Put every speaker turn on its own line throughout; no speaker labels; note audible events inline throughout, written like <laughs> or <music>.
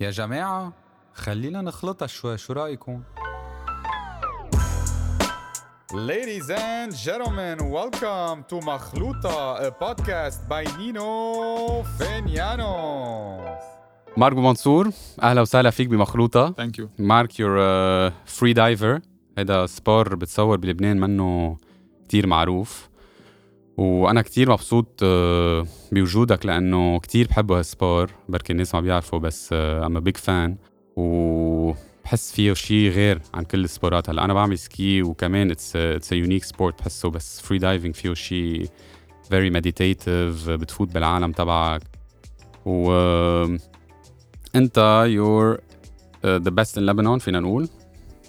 يا جماعة خلينا نخلطها شوي شو رأيكم؟ Ladies and gentlemen, welcome to مخلوطة a podcast by Nino Fenianos. ماركو منصور اهلا وسهلا فيك بمخلوطة
ثانك يو
مارك يور فري دايفر هيدا سبور بتصور بلبنان منه كتير معروف وانا كتير مبسوط آه، بوجودك لانه كتير بحبه هالسبور بركي الناس ما بيعرفوا بس آه، اما بيج فان وبحس فيه شيء غير عن كل السبورات هلا انا بعمل سكي وكمان اتس اتس يونيك سبورت بحسه بس فري دايفنج فيه شيء فيري مديتيتيف بتفوت بالعالم تبعك و آه، انت يور ذا بيست ان لبنان فينا نقول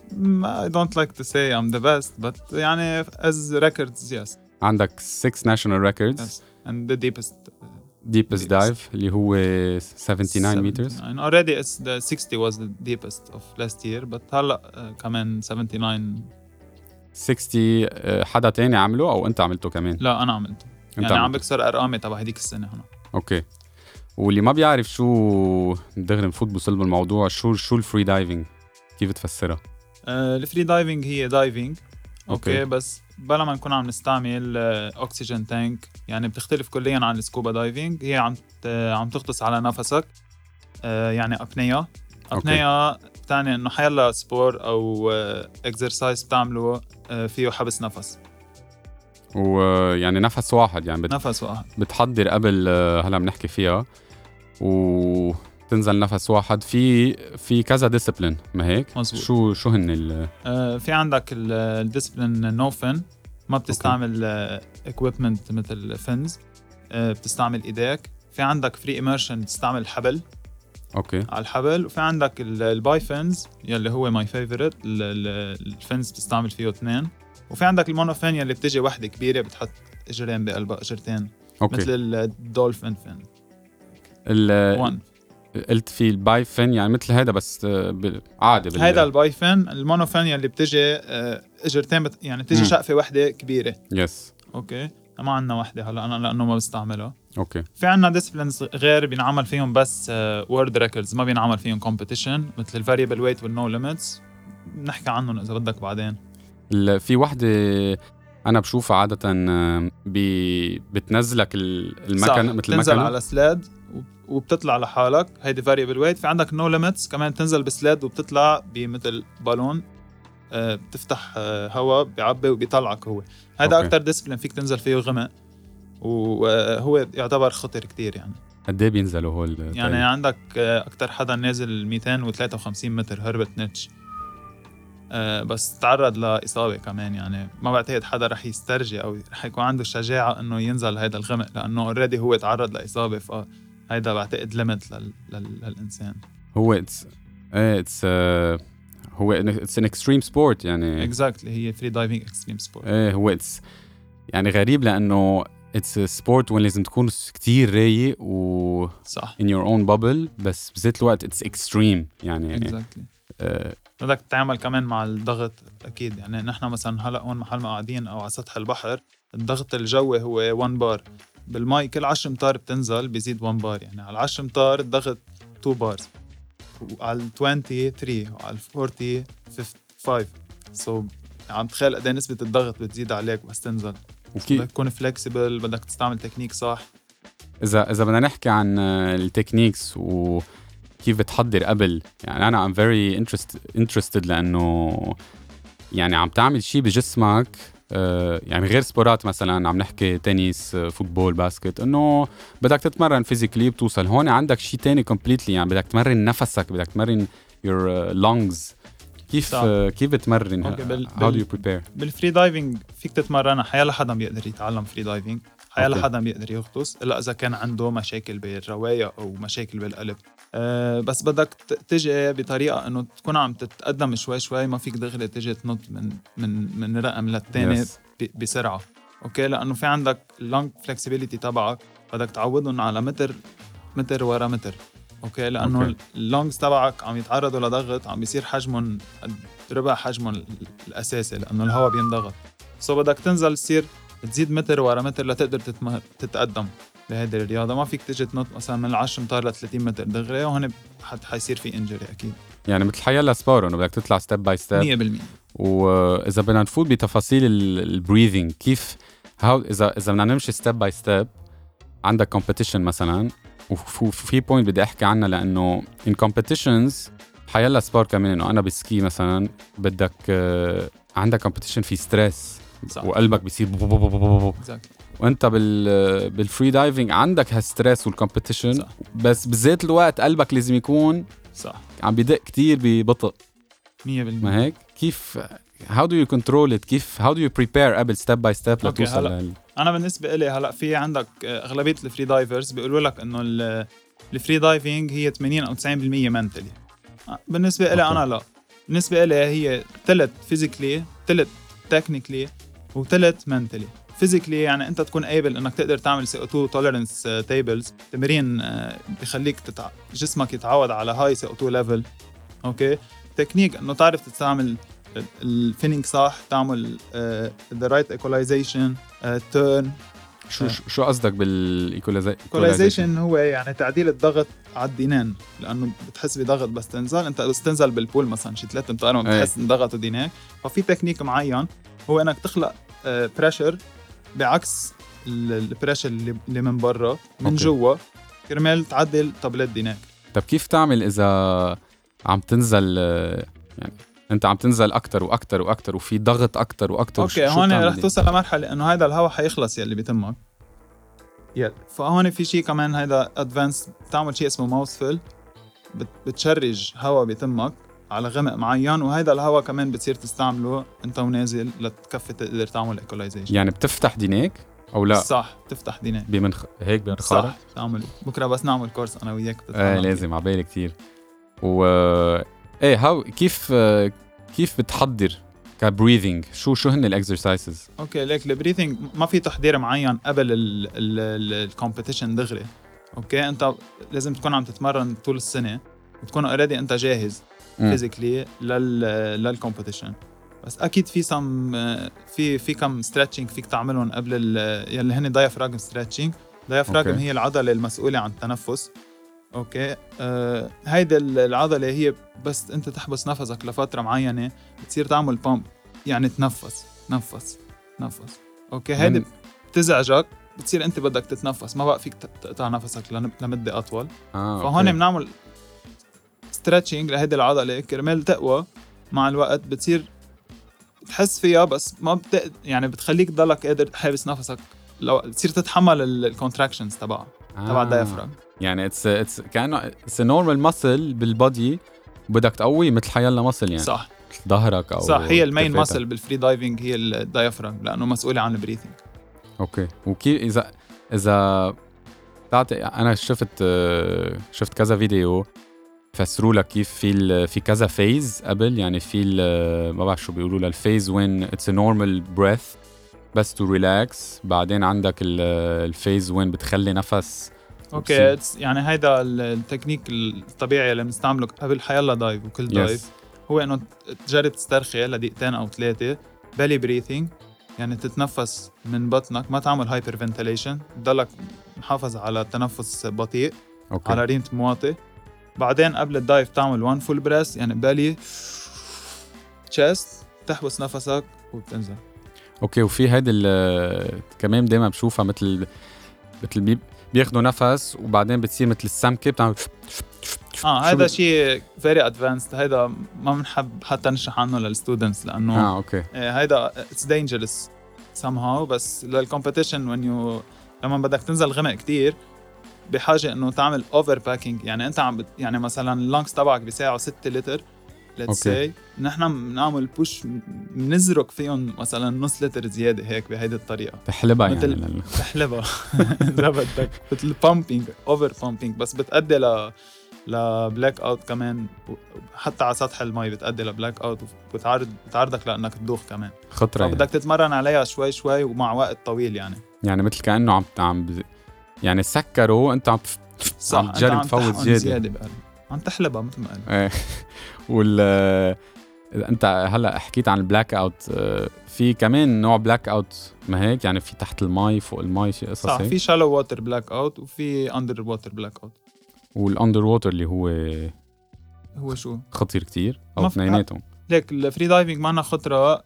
Mm, I don't like to say I'm the best but يعني as records yes
عندك 6 national records
yes and the deepest uh,
deepest
Yes.
dive اللي هو 79 meters
and already it's the 60 was the deepest of last year but هلا uh, كمان 79
60 آه، حدا تاني عمله او انت عملته كمان
لا انا عملته
انت
يعني عم
عملته.
بكسر ارقامي تبع هديك السنه هنا
اوكي واللي ما بيعرف شو دغري نفوت بصلب الموضوع شو شو الفري دايفنج كيف تفسرها
آه، الفري دايفنج هي دايفنج
أوكي.
اوكي بس بلا ما نكون عم نستعمل آه، اوكسجين تانك يعني بتختلف كليا عن السكوبا دايفنج هي عم ت- آه، عم تغطس على نفسك آه، يعني ابنيه ابنيه بتعني انه حيلا سبور او اكزرسايز بتعمله آه، فيه حبس نفس
ويعني نفس واحد يعني بت-
نفس واحد
بتحضر قبل آه، هلا بنحكي فيها و تنزل نفس واحد في في كذا ديسبلين ما هيك
مزبوط.
شو شو هن ال
آه، في عندك آه، الديسبلين نوفن ما بتستعمل اكويبمنت مثل فنز بتستعمل ايديك في عندك فري اميرشن بتستعمل حبل
اوكي
على الحبل وفي عندك ال- الباي فنز يلي هو ماي فيفورت الفنز بتستعمل فيه اثنين وفي عندك المونوفين يلي بتجي وحده كبيره بتحط اجرين بقلبها اجرتين
اوكي
مثل الدولفين فين
أه، ال-
وان
قلت في الباي فين يعني مثل هيدا بس آه، ب- عادي بال-
هيدا الباي فين المونوفين يلي بتجي آه، اجرتين بت... يعني بتجي
مم.
شقفه وحده كبيره
يس
اوكي ما عندنا وحده هلا انا لانه ما بستعملها
اوكي
في عنا ديسبلينز غير بينعمل فيهم بس وورد ريكوردز ما بينعمل فيهم كومبيتيشن مثل الفاريبل ويت والنو ليميتس نحكي عنهم اذا بدك بعدين
ال- في وحده انا بشوفها عاده آه، بي بتنزلك ال- المكنه
صح،
مثل
بتنزل
المكنه
على سلاد وبتطلع لحالك هيدي فاريبل ويت في عندك نو ليميتس كمان بتنزل بسلاد وبتطلع بمثل بالون آه، بتفتح آه، هواء بيعبي وبيطلعك هو هذا
أوكي.
اكثر ديسبلين فيك تنزل فيه غمق وهو يعتبر خطر كتير يعني
قد ايه بينزلوا هول
يعني
طيب؟
عندك اكثر حدا نازل 253 متر هربت نيتش آه، بس تعرض لاصابه كمان يعني ما بعتقد حدا رح يسترجي او رح يكون عنده الشجاعه انه ينزل هيدا الغمق لانه اوريدي هو تعرض لاصابه فهيدا بعتقد ليميت لل... لل... للانسان
هو اتس ايه اتس هو اتس ان اكستريم سبورت يعني
اكزاكتلي هي فري دايفنج اكستريم سبورت
ايه هو اتس يعني غريب لانه اتس سبورت وين لازم تكون كتير رايق و
صح
in your own bubble بس بذات الوقت اتس اكستريم يعني
اكزاكتلي
آه،
بدك تتعامل كمان مع الضغط اكيد يعني نحن مثلا هلا هون محل ما قاعدين او على سطح البحر الضغط الجوي هو 1 بار بالمي كل 10 امتار بتنزل بيزيد 1 بار يعني على 10 امتار الضغط 2 بارز وعلى ال 20 3 وعلى ال 40 5 5 سو عم تخيل قد إيه نسبة الضغط بتزيد عليك بس تنزل
وكي-
بدك تكون فلكسبل بدك تستعمل تكنيك صح
اذا اذا بدنا نحكي عن آه، التكنيكس وكيف بتحضر قبل يعني انا ام فيري انترستد لانه يعني عم تعمل شيء بجسمك آه، يعني غير سبورات مثلا عم نحكي تنس آه، فوتبول باسكت انه بدك تتمرن فيزيكلي بتوصل هون عندك شيء تاني كومبليتلي يعني بدك تمرن نفسك بدك تمرن يور لونجز كيف
صح.
آه، كيف بتمرن
أوكي، بال-
هاو دو
بال-
يو بريبير
بالفري دايفنج فيك تتمرنها حيلا حدا بيقدر يتعلم فري دايفنج
أوكي.
حيلا حدا بيقدر يغطس الا اذا كان عنده مشاكل بالروايه او مشاكل بالقلب أه بس بدك ت- تجي بطريقه انه تكون عم تتقدم شوي شوي ما فيك دغري تجي تنط من من من رقم للثاني
Yes.
ب- بسرعه اوكي لانه في عندك اللونج فلكسبيليتي تبعك بدك تعوضهم على متر متر ورا متر اوكي لانه
أوكي.
اللونجز تبعك عم يتعرضوا لضغط عم بيصير حجمهم قد ربع حجمهم ال- الاساسي لانه الهواء بينضغط سو بدك تنزل تصير تزيد متر ورا متر لتقدر تتم... تتقدم لهيدي الرياضه ما فيك تيجي تنط مثلا من 10 امتار ل 30 متر دغري وهون حت حيصير في انجري اكيد
يعني مثل حيلا سبور انه بدك تطلع ستيب باي ستيب
100%
واذا بدنا نفوت بتفاصيل البريذنج كيف هاو اذا اذا بدنا نمشي ستيب باي ستيب عندك كومبيتيشن مثلا وف- وفي بوينت بدي احكي عنها لانه ان كومبيتيشنز حيلا سبور كمان انه انا بالسكي مثلا بدك آه، عندك كومبيتيشن في ستريس
صح
وقلبك بيصير بو- بو- بو- بو- بو- بو.
Exactly.
وانت بال بالفري دايفنج عندك هالستريس والكومبيتيشن
صح.
بس بذات الوقت قلبك لازم يكون
صح
عم بيدق كتير ببطء
100% ما
ما هيك كيف هاو دو يو كنترول ات كيف هاو دو يو بريبير قبل ستيب باي ستيب
أوكي،
لتوصل
هلا.
لل...
انا بالنسبه لي هلا في عندك آه، اغلبيه الفري دايفرز بيقولوا لك انه ال- الفري دايفنج هي 80 او 90% منتلي آه، بالنسبه لي
أوكي.
انا لا بالنسبه لي هي تلت فيزيكلي تلت تكنيكلي وتلت منتلي فيزيكلي يعني انت تكون قابل انك تقدر تعمل سي او 2 توليرنس تيبلز آه، تمرين آه، بخليك تتع... جسمك يتعود على هاي سي او 2 ليفل اوكي تكنيك انه تعرف تستعمل الفينينج صح تعمل آه، ذا رايت ايكولايزيشن تيرن
شو
آه.
شو قصدك بالايكولايزيشن
ايكولايزيشن هو يعني تعديل الضغط على الدينان لانه بتحس بضغط بس تنزل انت بس تنزل بالبول مثلا شي ثلاث امتار ما
إيه.
بتحس ان ضغطوا دينك ففي تكنيك معين هو انك تخلق بريشر بعكس البريشر اللي اللي من برا من
أوكي.
جوا كرمال تعدل طبلات دينك
طب كيف تعمل اذا عم تنزل آه، يعني انت عم تنزل اكثر واكثر واكثر وفي ضغط اكثر واكثر
اوكي هون رح توصل لمرحله انه هيدا الهواء حيخلص يلي بتمك يلا فهون في شيء كمان هيدا ادفانس بتعمل شيء اسمه ماوث فيل بت- بتشرج هواء بتمك على غمق معين وهيدا الهواء كمان بتصير تستعمله انت ونازل لتكفي تقدر تعمل ايكولايزيشن
يعني بتفتح دينيك او لا
صح تفتح دينك
بمنخ هيك بمنخارك
صح تعمل بكره بس نعمل كورس انا وياك
ايه
بتتعلم.
لازم على بالي كثير و ايه هاو كيف آه، كيف بتحضر كبريذنج شو شو هن الاكسرسايزز
اوكي ليك البريثنج ما في تحضير معين قبل الكومبيتيشن دغري اوكي انت لازم تكون عم تتمرن طول السنه وتكون اوريدي انت جاهز فيزيكلي لل للكومبيتيشن بس اكيد في سم في في كم ستريتشنج فيك تعملهم قبل ال- يعني يلي هن دايفراجم ستريتشنج دايفراجم
أوكي.
هي العضله المسؤوله عن التنفس اوكي آه هيدي ال- العضله هي بس انت تحبس نفسك لفتره معينه بتصير تعمل بامب يعني تنفس نفس نفس اوكي هيدي
من-
بتزعجك بتصير انت بدك تتنفس ما بقى فيك ت- تقطع نفسك لن- لمده اطول
اه
فهون
أوكي.
بنعمل ستريتشنج لهيدي العضله كرمال تقوى مع الوقت بتصير تحس فيها بس ما بت يعني بتخليك تضلك قادر حابس نفسك لو تصير تتحمل الكونتراكشنز تبعها تبع
آه.
الدايفراغ
يعني اتس اتس كانه اتس نورمال ماسل بالبادي بدك تقوي مثل حيلا ماسل يعني
صح
ظهرك او
صح هي المين
كتفاتك.
ماسل بالفري دايفنج هي الدايفراغ لانه مسؤوله عن البريثنج
اوكي وكيف اذا اذا بتعطي انا شفت آه، شفت كذا فيديو فسروا لك كيف في ال- في كذا فيز قبل يعني في ال- ما بعرف شو بيقولوا للفيز وين اتس نورمال بريث بس تو ريلاكس بعدين عندك ال- الفيز وين بتخلي نفس
اوكي it's- يعني هيدا التكنيك الطبيعي اللي بنستعمله قبل حيلا دايف وكل دايف
Yes.
هو انه تجرب تسترخي لدقيقتين او ثلاثه بالي بريثنج يعني تتنفس من بطنك ما تعمل هايبر فنتليشن تضلك محافظ على تنفس بطيء
اوكي
على رينة مواطي بعدين قبل الدايف تعمل وان فول بريس يعني بالي تشيست تحبس نفسك وبتنزل
اوكي وفي هيدي ال- كمان دايما بشوفها مثل مثل بي- بياخدوا نفس وبعدين بتصير مثل السمكه بتعمل
اه
شو
هذا
بت-
شيء فيري ادفانسد هذا ما بنحب حتى نشرح عنه للستودنتس لانه
اه اوكي
إيه، هيدا اتس دينجرس somehow بس للكومبيتيشن وين يو لما بدك تنزل غمق كتير بحاجه انه تعمل اوفر باكينج يعني انت عم بت... يعني مثلا اللانكس تبعك بيساعوا 6 لتر ليتس
أوكي.
سي نحن بنعمل بوش بنزرق فيهم مثلا نص لتر زياده هيك بهيدي الطريقه
تحلبها يعني
مثل-
لل-
<laughs> تحلبها اذا بدك مثل بامبينج اوفر بامبينج بس بتأدي ل لبلاك اوت كمان و- حتى على سطح المي بتأدي لبلاك اوت وبتعرض بتعرضك لانك تدوخ كمان
خطره يعني.
فبدك تتمرن عليها شوي شوي ومع وقت طويل يعني
يعني مثل كانه عم عم ب- يعني سكروا انت عم تف-
صح
عم تجرب
أنت
تفوت
تحقن
زياده
زياده بقلب. عم تحلبها مثل ما قلت
<laughs> وال اذا انت هلا حكيت عن البلاك اوت آه، في كمان نوع بلاك اوت ما هيك يعني في تحت المي فوق المي شيء قصص
صح
هيك؟
في شالو ووتر بلاك اوت وفي اندر ووتر بلاك اوت
والاندر ووتر اللي هو
هو شو؟
خطير كتير او
ما في-
اثنيناتهم
ليك الفري دايفنج معنا خطره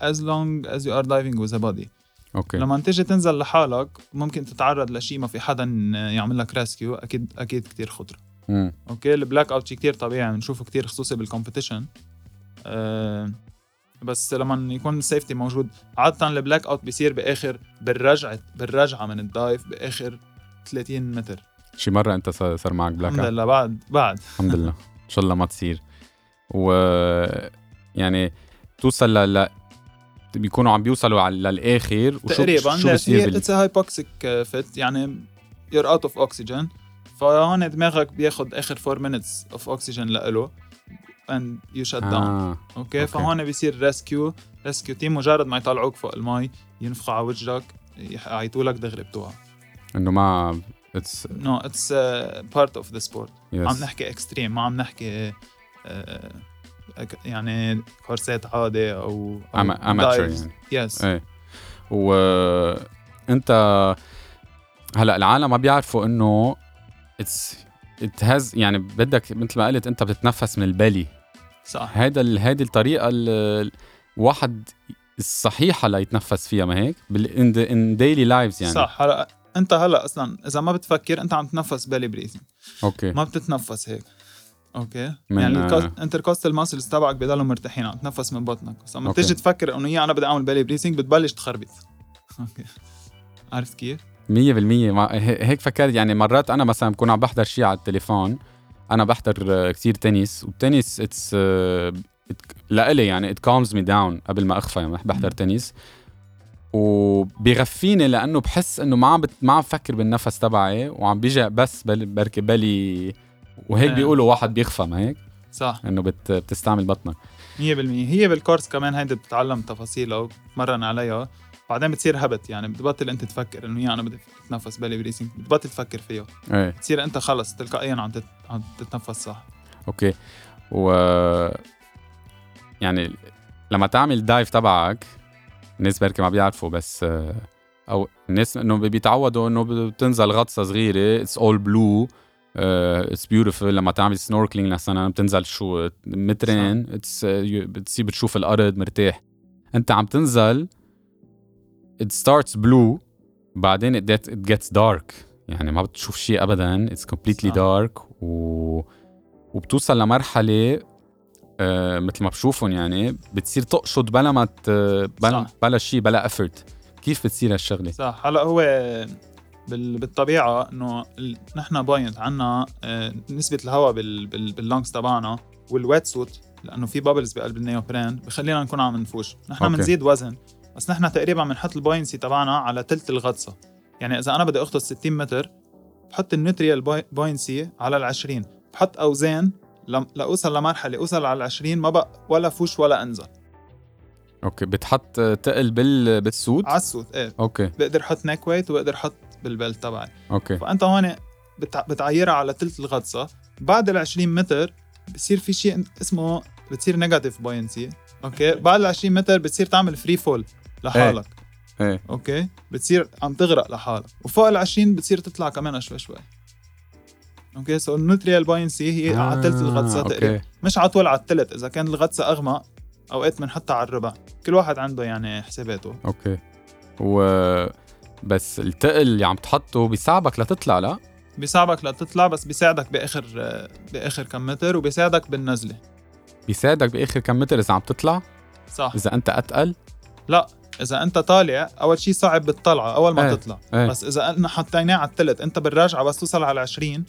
از لونج از يو ار دايفنج وذ بادي
اوكي
لما تيجي تنزل لحالك ممكن تتعرض لشيء ما في حدا يعمل لك ريسكيو اكيد اكيد كتير خطره
مم.
اوكي البلاك اوت شيء كتير طبيعي بنشوفه كتير خصوصي بالكومبيتيشن أه بس لما يكون السيفتي موجود عاده البلاك اوت بيصير باخر بالرجعه بالرجعه من الدايف باخر 30 متر
شي مره انت صار صار معك بلاك
الحمد
اوت
لله بعد بعد
الحمد لله ان شاء الله ما تصير و يعني توصل ل... ل... بيكونوا عم بيوصلوا على للاخر وشو
تقريبا
شو بصير بال...
اتس هايبوكسيك فيت يعني يور اوت اوف اوكسجين فهون دماغك بياخد اخر 4 minutes اوف اوكسجين لإله اند يو شت داون
آه.
اوكي
أوكي.
فهون بيصير ريسكيو ريسكيو تيم مجرد ما يطلعوك فوق المي ينفخوا على وجهك يعيطوا لك دغري بتوقع
انه ما اتس
نو اتس بارت اوف ذا سبورت عم
يس
نحكي اكستريم ما عم نحكي آه، أك- يعني كورسات عادي او
اماتشر يعني
يس
ايه وانت هلا العالم ما بيعرفوا انه اتس اتهز يعني بدك مثل ما قلت انت بتتنفس من البلي
صح
هيدا ال- هيدي الطريقه ال- الواحد الصحيحه ليتنفس فيها ما هيك ان ديلي لايفز يعني
صح هلا انت هلا اصلا اذا ما بتفكر انت عم تنفس بالي بريثنج
اوكي
ما بتتنفس هيك اوكي
إيه. من-
يعني
آه.
الانتركوستال ماسلز تبعك بضلوا مرتاحين عم تنفس من بطنك بس لما
أوكي.
بتيجي تفكر انه يا انا بدي اعمل بالي بريثنج بتبلش تخربط <laughs> اوكي عرفت كيف؟
100% ما هي- هيك فكرت يعني مرات انا مثلا بكون عم بحضر شيء على التليفون انا بحضر آه، كتير تنس والتنس اتس لإلي يعني ات كالمز مي داون قبل ما اخفى يعني بحضر تنس وبيغفيني لانه بحس انه ما عم بت- ما عم بفكر بالنفس تبعي وعم بيجي بس بل بركي بالي وهيك
آه.
بيقولوا واحد بيخفى ما هيك
صح 100%
انه بت بتستعمل بطنك
هي بالكورس كمان هيدي بتتعلم تفاصيلها وبتمرن عليها بعدين بتصير هبت يعني بتبطل انت تفكر انه يا انا بدي اتنفس بالي بريثنج بتبطل تفكر فيها
ايه
بتصير انت خلص تلقائيا عم تت- عم تتنفس صح
اوكي و يعني لما تعمل دايف تبعك الناس بركي ما بيعرفوا بس آه، او الناس انه بيتعودوا انه بتنزل غطسه صغيره اتس اول بلو اتس بيوتيفول آه، لما تعمل سنوركلينج مثلا بتنزل شو مترين اتس بتصير بتشوف الارض مرتاح انت عم تنزل it starts blue بعدين it, get, it gets dark يعني ما بتشوف شيء ابدا it's completely
صح.
dark و... وبتوصل لمرحله آه مثل ما بشوفهم يعني بتصير تقشط بلا ما ت... بلا,
صح.
بلا شيء بلا effort كيف بتصير هالشغله؟
صح هلا هو بال- بالطبيعه انه ال- نحن باينت عنا آه، نسبه الهواء بال- بال- باللونجز تبعنا والويت سوت لانه في بابلز بقلب النيوبرين بخلينا نكون عم نفوش نحن
أوكي.
بنزيد وزن بس نحن تقريبا بنحط الباينسي تبعنا على ثلث الغطسه يعني اذا انا بدي اغطس 60 متر بحط النيوتريال باي- باينسي على ال 20 بحط اوزان لم- لاوصل لمرحله اوصل على ال 20 ما بقى ولا فوش ولا انزل
اوكي بتحط آه، تقل بال بالسوت
على السوت ايه
اوكي
بقدر احط نيك ويت وبقدر احط بالبلت تبعي
اوكي
فانت هون بتع- بتعيرها على ثلث الغطسه بعد ال 20 متر بصير في شيء اسمه بتصير نيجاتيف باينسي اوكي بعد ال 20 متر بتصير تعمل فري فول لحالك
ايه
اوكي بتصير عم تغرق لحالك وفوق ال 20 بتصير تطلع كمان شوي شوي اوكي سو النوتريال باينسي هي آه. على ثلث الغطسه تقريبا
اوكي
مش على طول على الثلث اذا كان الغطسه اغمق اوقات بنحطها على الربع كل واحد عنده يعني حساباته
اوكي و بس التقل اللي عم تحطه بيساعدك لتطلع لا
بيساعدك لتطلع بس بيساعدك باخر باخر كم متر وبيساعدك بالنزله
بيساعدك باخر كم متر اذا عم تطلع
صح
اذا انت اتقل
لا اذا انت طالع اول شيء صعب بالطلعه اول ما
إيه،
ايه. تطلع
إيه.
ايه. بس اذا انا حطيناه على الثلث انت بالراجعه بس توصل على 20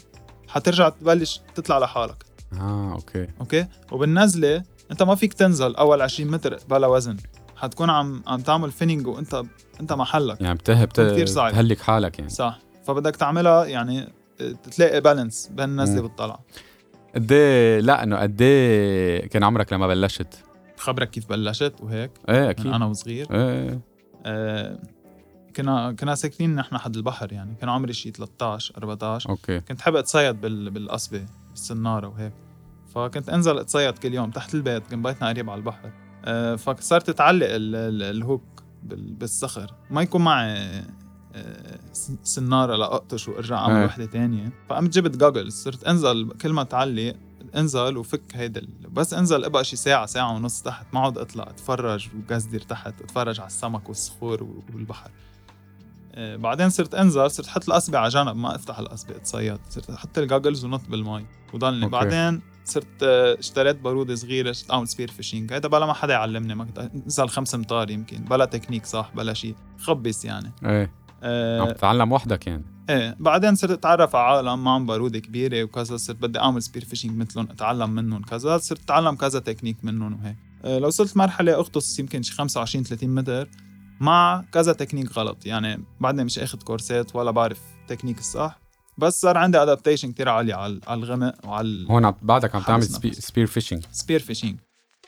حترجع تبلش تطلع لحالك
اه اوكي
اوكي وبالنزله انت ما فيك تنزل اول 20 متر بلا وزن حتكون عم عم تعمل فينينج وانت انت محلك
يعني بته بت...
كتير صعب.
بتهلك حالك يعني
صح فبدك تعملها يعني آه، تلاقي بالانس بين النزله
مم.
والطلعه
قد إيه- لا انه قد إيه كان عمرك لما بلشت
خبرك كيف بلشت وهيك
ايه
من
اكيد
انا وصغير
ايه
آه كنا كنا ساكنين نحن حد البحر يعني كان عمري شي 13 14
اوكي إيه.
كنت حابب اتصيد بال... بالقصبه بالسناره وهيك ف فكنت انزل اتصيد كل يوم تحت البيت كان بيتنا قريب على البحر آه، فصارت تعلق ال- ال- الهوك بال- بالصخر ما يكون معي آه، س- سناره لاقطش وارجع اعمل
إيه.
وحده تانية فقمت جبت جوجلز صرت انزل كل ما تعلق انزل وفك هيدا ال- بس انزل ابقى شي ساعه ساعه ونص تحت ما اقعد اطلع اتفرج وقصدر تحت اتفرج على السمك والصخور و- والبحر آه، بعدين صرت انزل صرت احط الاصبع على جنب ما افتح الاصبع اتصيد صرت احط الجوجلز ونط بالمي وضلني
أوكي.
بعدين صرت آه، اشتريت باروده صغيره صرت اعمل سبير فيشينج هيدا بلا ما حدا يعلمني ما كنت انزل خمس امتار يمكن بلا تكنيك صح بلا شيء خبص يعني
ايه
آه،
عم تتعلم وحدك يعني
ايه بعدين صرت اتعرف على عالم معهم باروده كبيره وكذا صرت بدي اعمل سبير فيشنج مثلهم اتعلم منهم كذا صرت اتعلم كذا تكنيك منهم وهيك أه، لو وصلت مرحله اغطس يمكن شي 25 30 متر مع كذا تكنيك غلط يعني بعدني مش اخذ كورسات ولا بعرف تكنيك الصح بس صار عندي ادابتيشن كتير عالي على على الغمق وعلى
هون عم بعدك عم تعمل
حابس
سبي...
نفسك.
سبير فيشنج
سبير فيشنج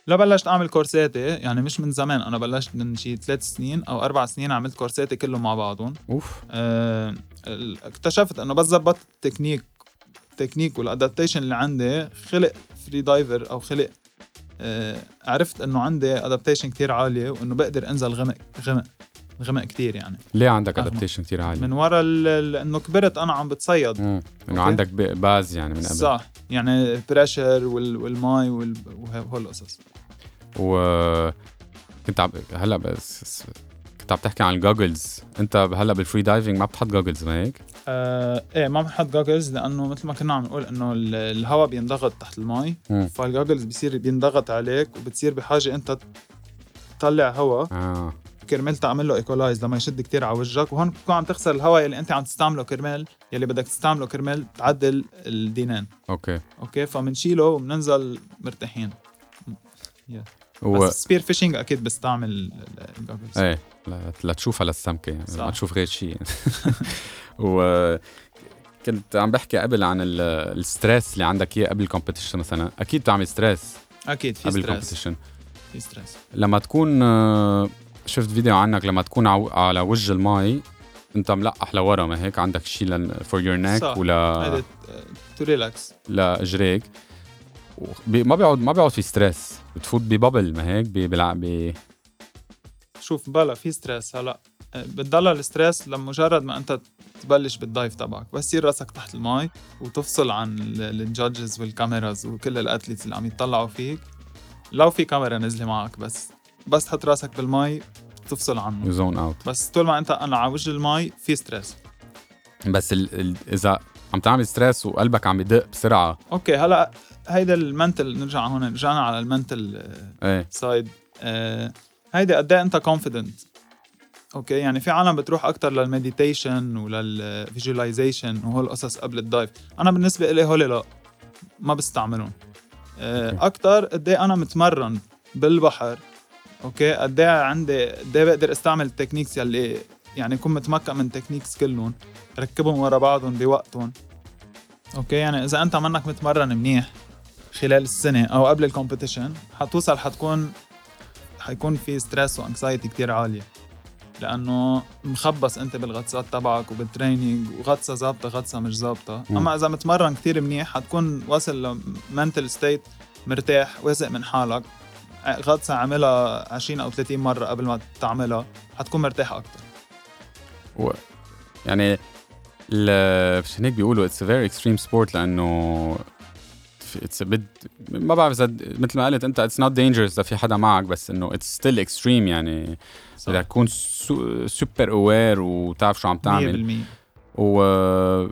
لا بلشت اعمل كورساتي يعني مش من زمان انا بلشت من شي ثلاث سنين او اربع سنين عملت كورساتي كلهم مع بعضهم
اوف
آه، ال- اكتشفت انه بس ظبطت التكنيك التكنيك والادابتيشن اللي عندي خلق فري دايفر او خلق آه، عرفت انه عندي ادابتيشن كتير عاليه وانه بقدر انزل غمق غمق غمق كتير يعني
ليه عندك
أغمى.
ادابتيشن كتير عالي؟
من ورا ال- ال- انه كبرت انا عم بتصيد
مم. انه
أوكي.
عندك ب- باز يعني من قبل
صح يعني بريشر والماي وال- وه- وهول القصص
و كنت عم هلا بس كنت عم تحكي عن الجوجلز انت هلا بالفري دايفنج ما بتحط جوجلز ما هيك؟
آه ايه ما بنحط جوجلز لانه مثل ما كنا عم نقول انه ال- الهواء بينضغط تحت المي
مم.
فالجوجلز بصير بينضغط عليك وبتصير بحاجه انت تطلع هواء
اه
كرمال تعمل له ايكولايز لما يشد كتير على وجهك وهون بتكون عم تخسر الهواء اللي انت عم تستعمله كرمال يلي بدك تستعمله كرمال تعدل الدينان
اوكي
اوكي فمنشيله وبننزل مرتاحين
و...
بس سبير فيشنج اكيد بستعمل ال- ال- الجوجلز
ايه لا- لتشوفها للسمكه يعني
صح.
ما تشوف غير شيء <laughs> يعني. و كنت عم بحكي قبل عن ال- الستريس اللي عندك اياه قبل الكومبيتيشن مثلا اكيد بتعمل ستريس
اكيد في
قبل
ستريس
الكومبيتيشن
في ستريس
لما تكون آه، شفت فيديو عنك لما تكون عو- على وجه المي انت ملقح لورا ما هيك عندك شيء فور يور نيك
صح.
ولا
هيدا تو ريلاكس
لاجريك وبي- ما بيقعد ما بيقعد في ستريس بتفوت ببابل ما هيك بي- بيلع- بي
شوف بلا في ستريس هلا أه، بتضل الستريس لمجرد ما انت تبلش بالدايف تبعك بس يصير راسك تحت المي وتفصل عن الجادجز والكاميراز وكل الاتليتس اللي عم يتطلعوا فيك لو في كاميرا نزلة معك بس بس تحط راسك بالمي تفصل عنه
زون اوت
بس طول ما انت انا على وجه المي في ستريس
بس ال... ال... اذا عم تعمل ستريس وقلبك عم يدق بسرعه
اوكي هلا هيدا المنتل نرجع هون رجعنا على المنتل
ايه
سايد آه هيدا قد ايه انت كونفيدنت اوكي يعني في عالم بتروح اكثر للمديتيشن وللفيجواليزيشن وهول القصص قبل الدايف انا بالنسبه لي هول لا ما بستعملهم
أوكي.
آه اكثر قد ايه انا متمرن بالبحر اوكي قد ايه عندي قد ايه بقدر استعمل التكنيكس يلي يعني كون متمكن من تكنيكس كلهم ركبهم ورا بعضهم بوقتهم اوكي يعني اذا انت منك متمرن منيح خلال السنه او قبل الكومبيتيشن حتوصل حتكون حيكون في ستريس وانكسايتي كتير عاليه لانه مخبص انت بالغطسات تبعك وبالتريننج وغطسه ظابطه غطسه مش ظابطه
مم.
اما اذا متمرن كتير منيح حتكون واصل لمنتل ستيت مرتاح واثق من حالك غطسه عاملها 20 او 30 مره قبل ما تعملها حتكون مرتاح اكثر
و... يعني ال... مشان هيك بيقولوا اتس فيري اكستريم سبورت لانه اتس بد ما بعرف اذا مثل ما قلت انت اتس نوت دينجرس اذا في حدا معك بس انه اتس ستيل اكستريم يعني بدك تكون سوبر اوير وتعرف شو عم تعمل
100%
و آه،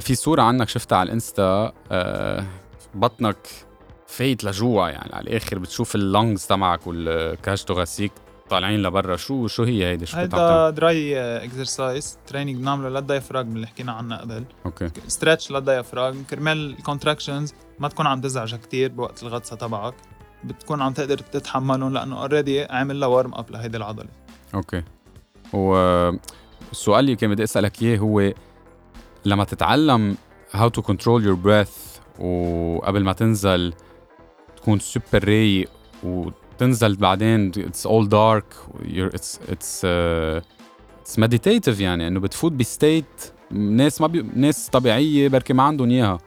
في صورة عنك شفتها على الانستا آه، بطنك فايت لجوع يعني على الاخر بتشوف اللونجز تبعك والكاش توغاسيك طالعين لبرا شو شو هي هيدي شو كنت عم تعمل؟
هيدا دراي اكسرسايز تريننج بنعمله للدايفراجم اللي حكينا عنه قبل
اوكي
ستريتش للدايفراجم كرمال الكونتراكشنز ما تكون عم تزعجك كتير بوقت الغطسه تبعك بتكون عم تقدر تتحملهم لانه اوريدي عامل لها وارم اب لهيدي العضله
اوكي والسؤال اللي كان بدي اسالك اياه هو لما تتعلم هاو تو كنترول يور بريث وقبل ما تنزل تكون سوبر رايق وتنزل بعدين اتس اول دارك اتس اتس اتس مديتيتيف uh, يعني انه بتفوت بستيت ناس ما بي... ناس طبيعيه بركي ما عندهم اياها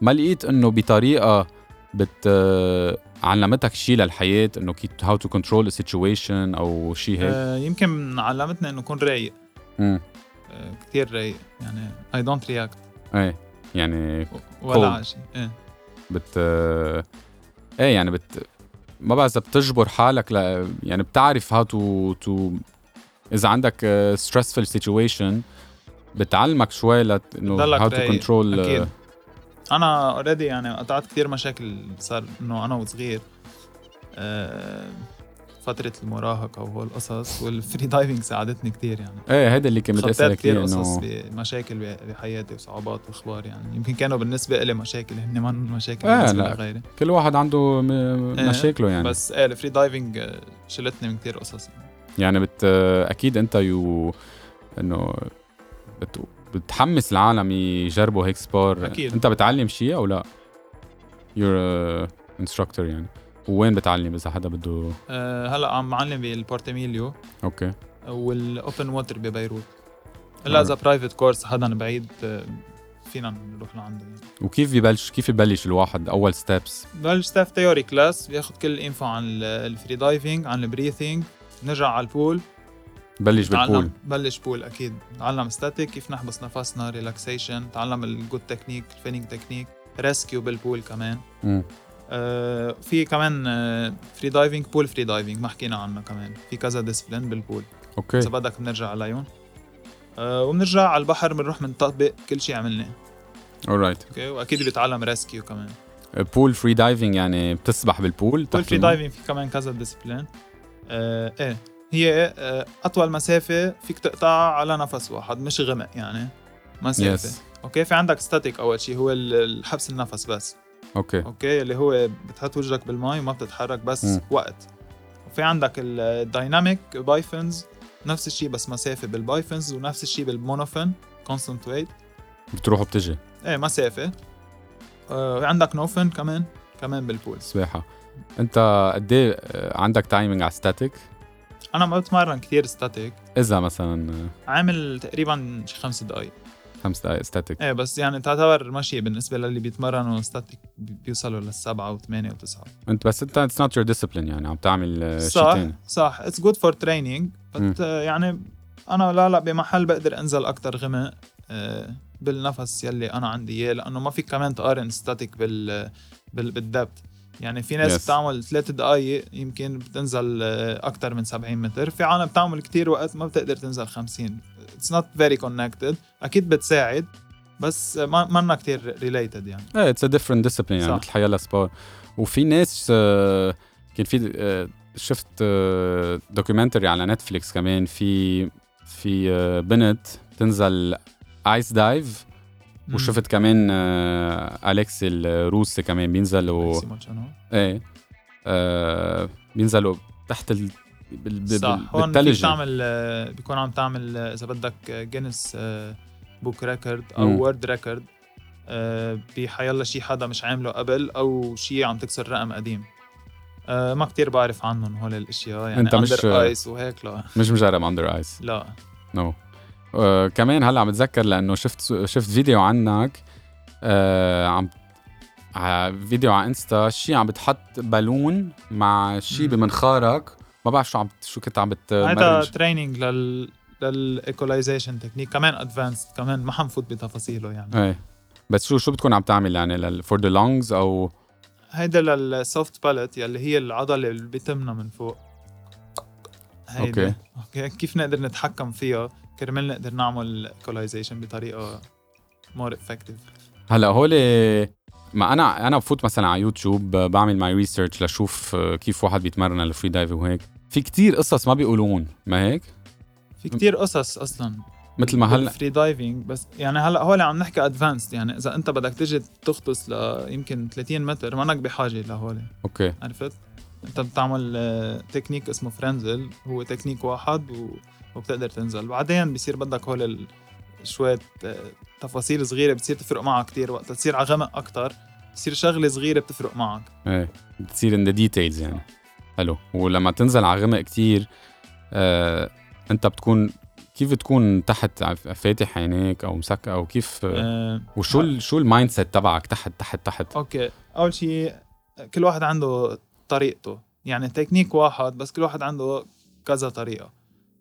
ما لقيت انه بطريقه بت آه، علمتك شيء للحياه انه كيف هاو تو كنترول السيتويشن او شيء هيك
آه، يمكن علمتني انه كون رايق
امم
آه، كتير رايق يعني اي دونت رياكت
ايه يعني
ولا
Cold.
شيء ايه
بت ايه يعني بت ما بعرف اذا بتجبر حالك ل... يعني بتعرف هاو تو تو اذا عندك ستريسفل سيتويشن بتعلمك شوي لت... انه
بتضلك
هاو تو
رايق،
كنترول
اكيد انا اوريدي يعني قطعت كثير مشاكل صار انه انا وصغير آه، فترة المراهقة وهالقصص والفري دايفنج ساعدتني كثير يعني
ايه هيدا اللي كان بدي
خطيت
اسالك
كثير
اياه
قصص
انه
بمشاكل ب- بحياتي وصعوبات واخبار يعني يمكن كانوا بالنسبة لي مشاكل هن ما مشاكل
آه،
بالنسبة
لا.
لغيري
كل واحد عنده م... مشاكله يعني
إيه، بس ايه الفري دايفنج آه، شلتني من كثير قصص يعني.
يعني بت اكيد انت يو انه بت... بتحمس العالم يجربوا هيك سبور
أكيد.
انت بتعلم شيء او لا يور انستراكتور يعني وين بتعلم اذا حدا بده
آه، هلا عم معلم بالبورتميليو
اوكي
والاوبن ووتر ببيروت الا اذا برايفت كورس حدا بعيد آه، فينا نروح لعنده يعني.
وكيف ببلش كيف ببلش الواحد اول ستيبس
بلش ستاف تيوري كلاس بياخد كل الانفو عن ال- الفري دايفنج عن البريثينج نرجع على البول
بلش بالبول
تعلم بلش بول اكيد تعلم ستاتيك كيف نحبس نفسنا ريلاكسيشن تعلم الجود تكنيك الفينينج تكنيك ريسكيو بالبول كمان
مم.
آه في كمان آه فري دايفنج بول فري دايفنج ما حكينا عنه كمان في كذا ديسبلين بالبول اذا
اوكي
بدك بنرجع عليهم آه وبنرجع على البحر بنروح بنطبق كل شيء عملناه
اورايت
اوكي واكيد بيتعلم ريسكيو كمان
بول فري دايفنج يعني بتسبح بالبول
بول
تحت
فري
الماء؟
دايفنج في كمان كذا ديسبلين آه ايه هي آه اطول مسافه فيك تقطعها على نفس واحد مش غمق يعني مسافه
Yes.
اوكي في عندك ستاتيك اول شيء هو ال- الحبس النفس بس
اوكي
اوكي اللي هو بتحط وجهك بالمي وما بتتحرك بس
مم.
م. وقت وفي عندك الدايناميك بايفنز نفس الشيء بس مسافه بالبايفنز ونفس الشيء بالمونوفن كونستنت ويت
بتروح وبتجي
ايه مسافه آه عندك نوفن كمان كمان بالبولز
سباحه انت قد ايه عندك تايمينج على ستاتيك
انا ما بتمرن كثير ستاتيك
اذا مثلا
عامل تقريبا شي خمس دقايق
خمس دقائق ستاتيك
ايه بس يعني تعتبر ماشية بالنسبة للي بيتمرنوا ستاتيك بي- بيوصلوا للسبعة وثمانية وتسعة
انت بس انت اتس نوت يور ديسيبلين يعني عم تعمل آه، شيء
صح
ثاني
صح اتس جود فور تريننج
مم.
بس يعني انا لا لا بمحل بقدر انزل اكتر غمق آه، بالنفس يلي انا عندي اياه لانه ما فيك كمان تقارن ستاتيك بال بال بالدبت يعني في ناس
Yes.
بتعمل ثلاث دقائق يمكن بتنزل اكثر من 70 متر في عالم بتعمل كتير وقت ما بتقدر تنزل 50 اتس نوت فيري كونكتد اكيد بتساعد بس ما منا كتير ريليتد يعني
ايه اتس ا ديفرنت ديسيبلين يعني
صح.
مثل حيلا سبور وفي ناس آه، كان في آه، شفت دوكيومنتري على نتفليكس كمان في في آه، بنت تنزل ايس دايف
مم.
وشفت كمان آه، اليكسي الروسي كمان بينزلوا
ماكسيمو تشانو.
ايه آه، بينزلوا تحت ال بال- بال-
صح هون فيك
بالثلج
تعمل آه، بيكون عم تعمل آه، اذا بدك جينيس بوك ريكورد
مم.
او وورد ريكورد بحيلا آه، شي حدا مش عامله قبل او شي عم تكسر رقم قديم آه، ما كتير بعرف عنهم هول الاشياء يعني
أنت مش-
ايس وهيك لا
مش مجرب اندر ايس
لا
نو آه كمان هلا عم بتذكر لانه شفت شفت فيديو عنك آه عم ع- فيديو على انستا شي عم بتحط بالون مع شي
مم.
بمنخارك ما بعرف شو عم شو كنت عم
هيدا
بتمرج
تريننج لل للايكولايزيشن تكنيك كمان ادفانسد كمان ما حنفوت بتفاصيله يعني
ايه بس شو شو بتكون عم تعمل يعني فور ذا لونجز او
هيدا للسوفت باليت يلي هي العضله اللي بتمنا من فوق هيدا
أوكي.
اوكي كيف نقدر نتحكم فيها كرمال نقدر نعمل ايكولايزيشن بطريقه مور افكتيف
هلا هول ما انا انا بفوت مثلا على يوتيوب ب- بعمل ماي ريسيرش لشوف آه، كيف واحد بيتمرن الفري دايفنج وهيك في كتير قصص ما بيقولون ما هيك
في كتير قصص اصلا
مثل ما هلا
فري دايفنج بس يعني هلا هول عم نحكي ادفانسد يعني اذا انت بدك تيجي تغطس ل يمكن 30 متر منك بحاجه لهول
اوكي
عرفت يعني انت بتعمل آه، تكنيك اسمه فرنزل هو تكنيك واحد و... وبتقدر تنزل بعدين بصير بدك هول ال... شوية آه، تفاصيل صغيرة بتصير تفرق معك كتير وقت تصير على غمق أكتر بتصير شغلة صغيرة بتفرق معك
ايه بتصير ان ذا ديتيلز يعني حلو ولما تنزل على غمق كتير آه، انت بتكون كيف تكون تحت عف- فاتح عينيك او مسكر او كيف آه،
أه
وشو ال شو المايند سيت تبعك تحت تحت تحت
أوكي أول شيء كل واحد عنده طريقته يعني تكنيك واحد بس كل واحد عنده كذا طريقة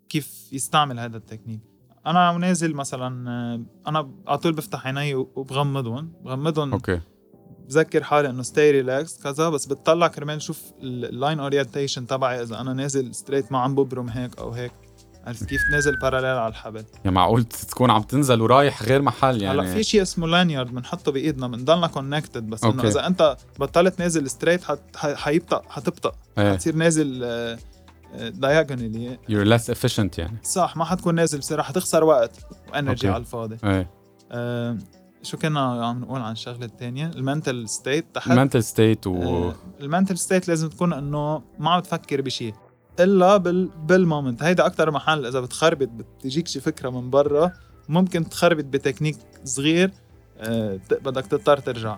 كيف يستعمل هذا التكنيك أنا عم نازل مثلا آه، أنا على طول بفتح عيني وبغمضهم بغمضهم
اوكي
بذكر حالي انه ستي ريلاكس كذا بس بتطلع كرمال شوف اللاين اورينتيشن تبعي اذا انا نازل ستريت ما عم ببرم هيك او هيك عرفت كيف نازل باراليل على الحبل
يعني معقول تكون عم تنزل ورايح غير محل
يعني هلا في
يعني
شيء اسمه لانيارد بنحطه بايدنا بنضلنا كونكتد بس انه
أوكي.
اذا انت بطلت نازل ستريت حت- ح- حيبطأ حتبطأ
ايه
حتصير نازل آه، داياجونالي
you're less efficient يعني
صح ما حتكون نازل بسرعه حتخسر وقت وانرجي
أوكي.
على الفاضي
ايه
آه، شو كنا عم نقول عن الشغله الثانيه المنتل ستيت تحت
المنتل ستيت و
آه، المنتل ستيت لازم تكون انه ما عم تفكر بشيء الا بال بالمومنت هيدا اكثر محل اذا بتخربط بتجيك شي فكره من برا ممكن تخربط بتكنيك صغير آه، ت- بدك تضطر ترجع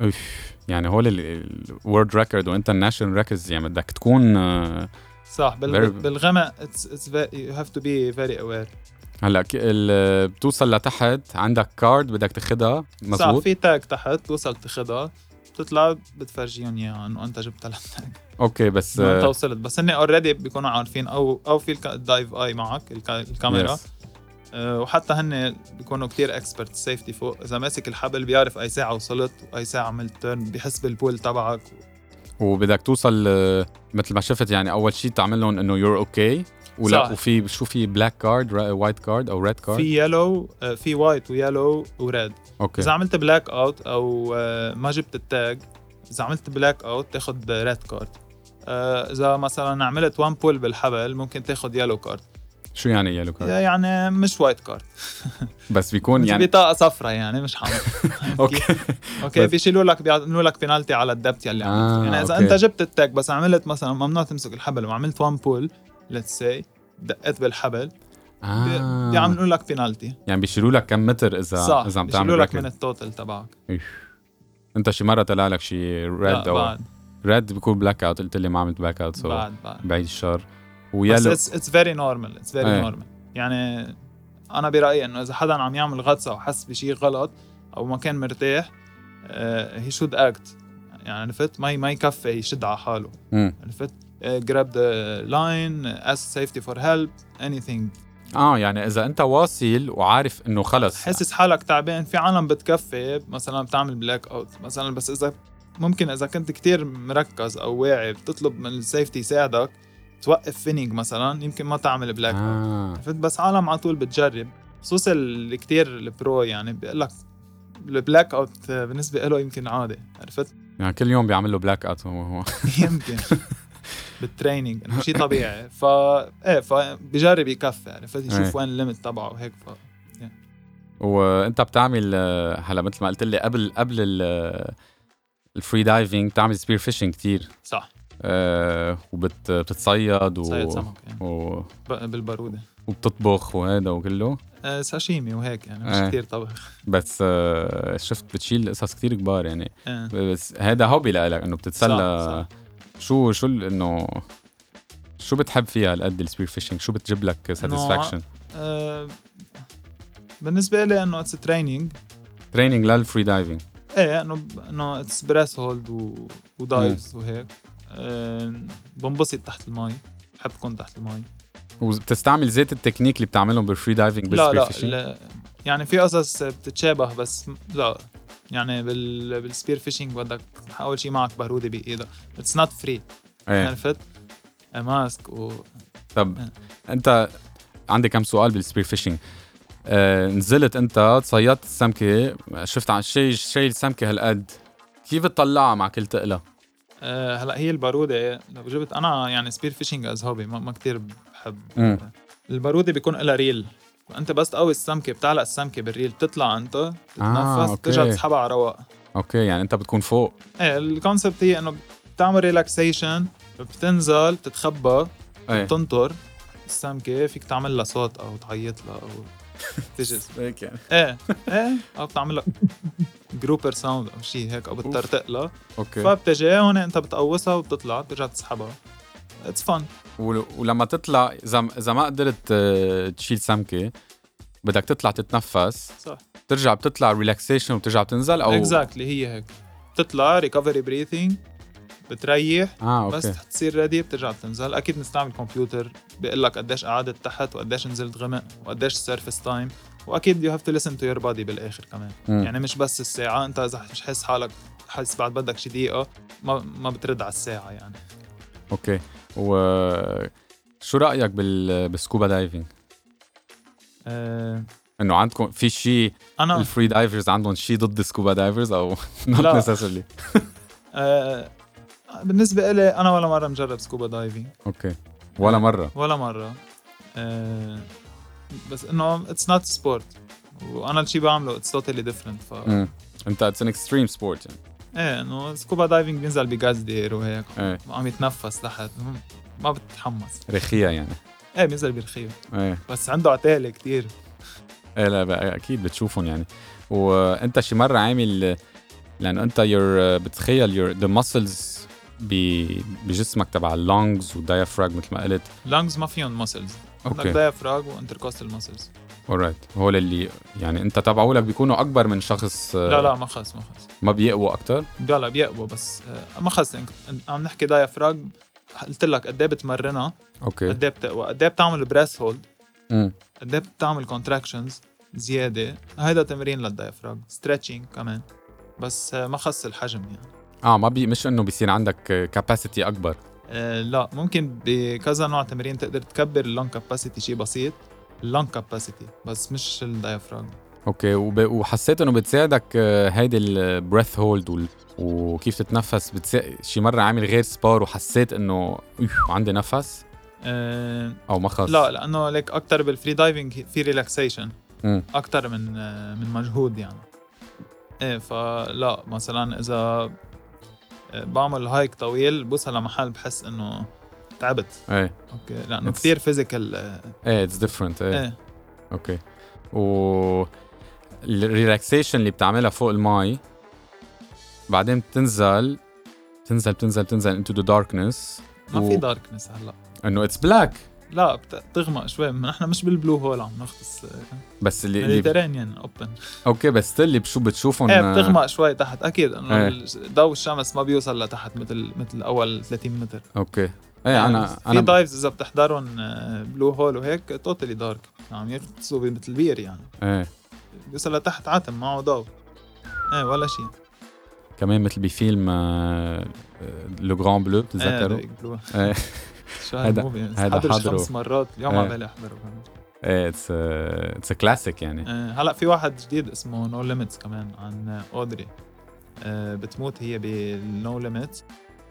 اوف يعني هول الورد ريكورد والانترناشونال ريكوردز يعني بدك تكون آه،
صح بال
Very-
بالغمق it's, it's ve- you have to be very aware
هلا ك- ال- بتوصل لتحت عندك كارد بدك تاخدها
صح
مزبوط
في تاج تحت توصل تاخدها بتطلع بتفرجيهم اياها انه انت جبت التاج
اوكي
<laughs>
بس
انت
آه،
وصلت بس هن اوريدي بيكونوا عارفين او او في الك- الدايف اي معك الك- الكاميرا
yes.
آه، وحتى هن بيكونوا كتير اكسبرت سيفتي فوق اذا ماسك الحبل بيعرف اي ساعه وصلت واي ساعه عملت تيرن بيحس بالبول تبعك
وبدك توصل آه، مثل ما شفت يعني اول شيء تعمل لهم انه يور اوكي
صح.
ولا وفي شو في بلاك كارد وايت كارد او ريد كارد
في يلو في وايت ويلو وريد اذا
اوكي
عملت بلاك اوت او آه، ما جبت التاج اذا عملت بلاك اوت تاخد ريد كارد آه، اذا مثلا عملت وان بول بالحبل ممكن تاخد يلو كارد
شو يعني يلو كارد
يعني مش وايت كارد
بس بيكون
يعني
يعني
بطاقه صفراء يعني
<laughs>
مش حمراء <laughs>
اوكي
اوكي
بس-
بيشيلوا لك بيعملوا لك بينالتي على الدبت يلي
آه،
عملته يعني اذا
أوكي.
انت جبت التاك بس عملت مثلا ممنوع تمسك الحبل وعملت وان بول ليتس سي دقت بالحبل بي-
آه.
بيعملوا لك بينالتي
يعني بيشيلوا لك كم متر اذا
صح
اذا عم
بيشيلوا
تعمل
لك
لك
من التوتل تبعك
انت شي مره طلع لك شي
لا،
ريد او
بعد
ريد بيكون بلاك اوت قلت لي ما عملت بلاك اوت سو
بعد بعد
بعيد الشر
بس
ويلو
اتس فيري نورمال اتس فيري
إيه.
نورمال يعني انا برايي انه اذا حدا عم يعمل غطسه وحس بشيء غلط او ما كان مرتاح آه، هي شود اكت يعني عرفت ما ما يكفي يشد على حاله
مم.
عرفت Uh, grab the line uh, ask safety for help anything
اه يعني اذا انت واصل وعارف انه خلص
حاسس حالك تعبان في عالم بتكفي مثلا بتعمل بلاك اوت مثلا بس اذا ممكن اذا كنت كتير مركز او واعي بتطلب من السيفتي يساعدك توقف فينينج مثلا يمكن ما تعمل بلاك اوت
آه.
عرفت بس عالم على طول بتجرب خصوصا اللي كتير البرو يعني بيقول لك البلاك اوت بالنسبه له يمكن عادي عرفت <laughs>
يعني كل يوم بيعمل له بلاك اوت هو هو
يمكن بالتريننج انه شيء طبيعي فا ايه فبجرب يكفي عرفت
إيه.
يشوف وين الليمت تبعه وهيك ف...
وانت بتعمل آه، هلا مثل ما قلت لي قبل قبل ال- الفري دايفنج بتعمل سبير فيشنج كثير
صح
وبتتصيد
صيد
آه، و...
سمك يعني
و...
ب- بالباروده
وبتطبخ وهذا وكله
آه، ساشيمي وهيك يعني
إيه.
مش كثير طبخ
بس آه، شفت بتشيل قصص كثير كبار يعني
إيه.
بس هذا هوبي لإلك انه
صح،
بتتسلى شو شو ال- انه شو بتحب فيها هالقد السبير فيشنج شو بتجيب لك ساتيسفاكشن
آه، بالنسبه لي انه اتس تريننج
تريننج للفري دايفنج
ايه انه انه اتس بريس هولد و- ودايفز وهيك آه، بنبسط تحت المي بحب كون تحت المي
وبتستعمل زيت التكنيك اللي بتعملهم بالفري دايفنج
لا
بالسبير
لا,
فيشنج
لا يعني في قصص بتتشابه بس م- لا يعني بال بالسبير فيشنج بدك اول شيء معك باروده بايدك اتس نوت فري
ايه
عرفت ماسك آه، و
طب
آه.
انت عندي كم سؤال بالسبير فيشنج آه نزلت انت تصيدت السمكه شفت عن شيء شيء السمكه هالقد كيف بتطلعها مع كل تقله
آه، هلا هي الباروده لو جبت انا يعني سبير فيشنج از هوبي ما, ما كثير بحب
مم.
الباروده بيكون لها ريل انت بس تقوي السمكه بتعلق السمكه بالريل بتطلع انت تتنفس
أوكي.
بترجع تسحبها على رواق
اوكي يعني انت بتكون فوق
ايه الكونسبت هي انه بتعمل ريلاكسيشن بتنزل بتتخبى
ايه
بتنطر السمكه فيك تعمل لها صوت او تعيط لها او تجي <laughs>
هيك يعني
ايه ايه او بتعمل لها جروبر ساوند او شيء هيك او بتطرطق لها
اوكي
فبتجي هون انت بتقوصها وبتطلع بترجع تسحبها اتس فن
ول- ولما تطلع اذا اذا ما قدرت آه، تشيل سمكه بدك تطلع تتنفس
صح
ترجع بتطلع ريلاكسيشن وبترجع بتنزل او
اكزاكتلي هي هيك بتطلع ريكفري بريثنج بتريح
اه
بس
اوكي
تصير ريدي بترجع بتنزل اكيد بنستعمل كمبيوتر بيقول لك قديش قعدت تحت وقديش نزلت غمق وقديش السيرفس تايم واكيد يو هاف تو ليسن تو يور بادي بالاخر كمان
مم.
يعني مش بس الساعه انت اذا مش حاسس حالك حاسس بعد بدك شي دقيقه ما ما بترد على الساعه يعني
اوكي وشو رايك بال... بالسكوبا دايفنج
أه
انه عندكم في شيء
انا
الفري دايفرز عندهم شيء ضد السكوبا دايفرز <laughs> او
آه. لا.
نوت necessarily
أه بالنسبه لي انا ولا مره مجرب سكوبا دايفنج
اوكي ولا مره
ولا مرة آه بس انه اتس نوت سبورت وانا الشيء بعمله اتس توتالي ديفرنت ف
مم. انت اتس ان اكستريم سبورت يعني
ايه انه سكوبا دايفنج بينزل بغاز دير وهيك
ايه
عم يتنفس تحت مم، ما بتتحمس
رخيه يعني
ايه بينزل برخيو
ايه
بس عنده عتالة كتير
ايه لا بقى اكيد بتشوفهم يعني وانت شي مره عامل لانه انت يور بتخيل يور ذا muscles ب- بجسمك تبع اللونجز والدايفراغ مثل ما قلت
لانجز ما فيهم ماسلز عندك
اوكي
دايفراغ وانتركوستال ماسلز
اورايت هول اللي يعني انت تبعولك بيكونوا اكبر من شخص آه،
لا لا ما خص ما خص
ما بيقوى اكتر
لا لا بيقوى بس آه، ما خص إنك- عم نحكي دايفراغ قلت لك قد ايه بتمرنها
اوكي
قد ايه بتقوى قد ايه بتعمل بريس هولد
امم
قد ايه بتعمل كونتراكشنز زياده هيدا تمرين للدايفراغ ستريتشنج كمان بس آه، ما خص الحجم يعني
اه ما بي مش انه بيصير عندك كاباسيتي اكبر
أه لا ممكن بكذا نوع تمرين تقدر تكبر اللون كاباسيتي شيء بسيط اللون كاباسيتي بس مش الدايفراغ
اوكي وب... وحسيت انه بتساعدك آه، هيدي البريث هولد وال... وكيف تتنفس بتسا... شي مره عامل غير سبار وحسيت انه "أوف، عندي نفس
أه
او ما خلص
لا لانه لك اكثر بالفري دايفنج في ريلاكسيشن
مم.
اكثر من آه، من مجهود يعني ايه فلا مثلا اذا آه، بعمل هايك طويل بوصل لمحل بحس انه تعبت
ايه
اوكي لانه
It's-
كثير فيزيكال
ايه اتس ديفرنت ايه
ايه
اوكي و الريلاكسيشن اللي بتعملها فوق المي بعدين بتنزل تنزل تنزل تنزل انتو ذا داركنس
ما في داركنس هلا
انه اتس بلاك
لا بت- بتغمق شوي ما نحن مش بالبلو هول عم نغطس
بس اللي, اللي
ميديترينيان اوبن
اوكي بس still اللي بشو بتشوفهم
ايه بتغمق شوي تحت اكيد انه
آه، إيه.
ال- ضوء الشمس ما بيوصل لتحت مثل مثل اول 30 متر
اوكي ايه انا
بس في
انا
دايفز اذا بتحضرهم آه، بلو هول وهيك توتالي دارك عم يغطسوا ب- مثل بير يعني
ايه
بيوصل لتحت عتم معه ضوء ايه ولا شيء
كمان مثل بفيلم آه، لو جراند بلو
آه،
بتتذكروا إيه.
<laughs> شو
هيدا-
هالموفي
هيدا
حضره
حضره.
خمس مرات اليوم
إيه.
على بالي احضره كمان.
ايه اتس اتس كلاسيك يعني
آه، هلا في واحد جديد اسمه نو ليميتس كمان عن آه، اودري آه، بتموت هي بالنو ليميتس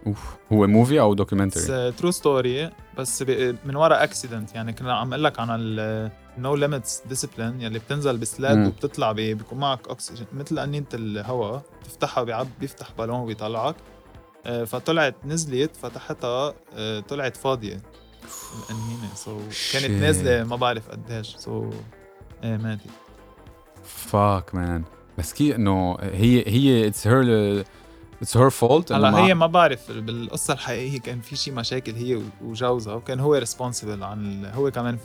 اوف هو موفي او دوكيومنتري
ترو ستوري بس ب- من وراء اكسيدنت يعني كنا عم اقول لك عن النو ليميتس ديسيبلين يلي بتنزل بسلاد
مم.
وبتطلع ب- بيكون معك اكسجين مثل انينه الهواء بتفتحها بيعب بيفتح بالون وبيطلعك آه، فطلعت نزلت فتحتها آه، طلعت فاضيه الانينه سو
Shit.
كانت نازله ما بعرف قديش آه، سو ماتت
فاك مان بس كي انه هي هي اتس هير اتس هير فولت
هلا هي ما بعرف بالقصه الحقيقيه كان في شي مشاكل هي و- وجوزها وكان هو ريسبونسبل عن ال... هو كمان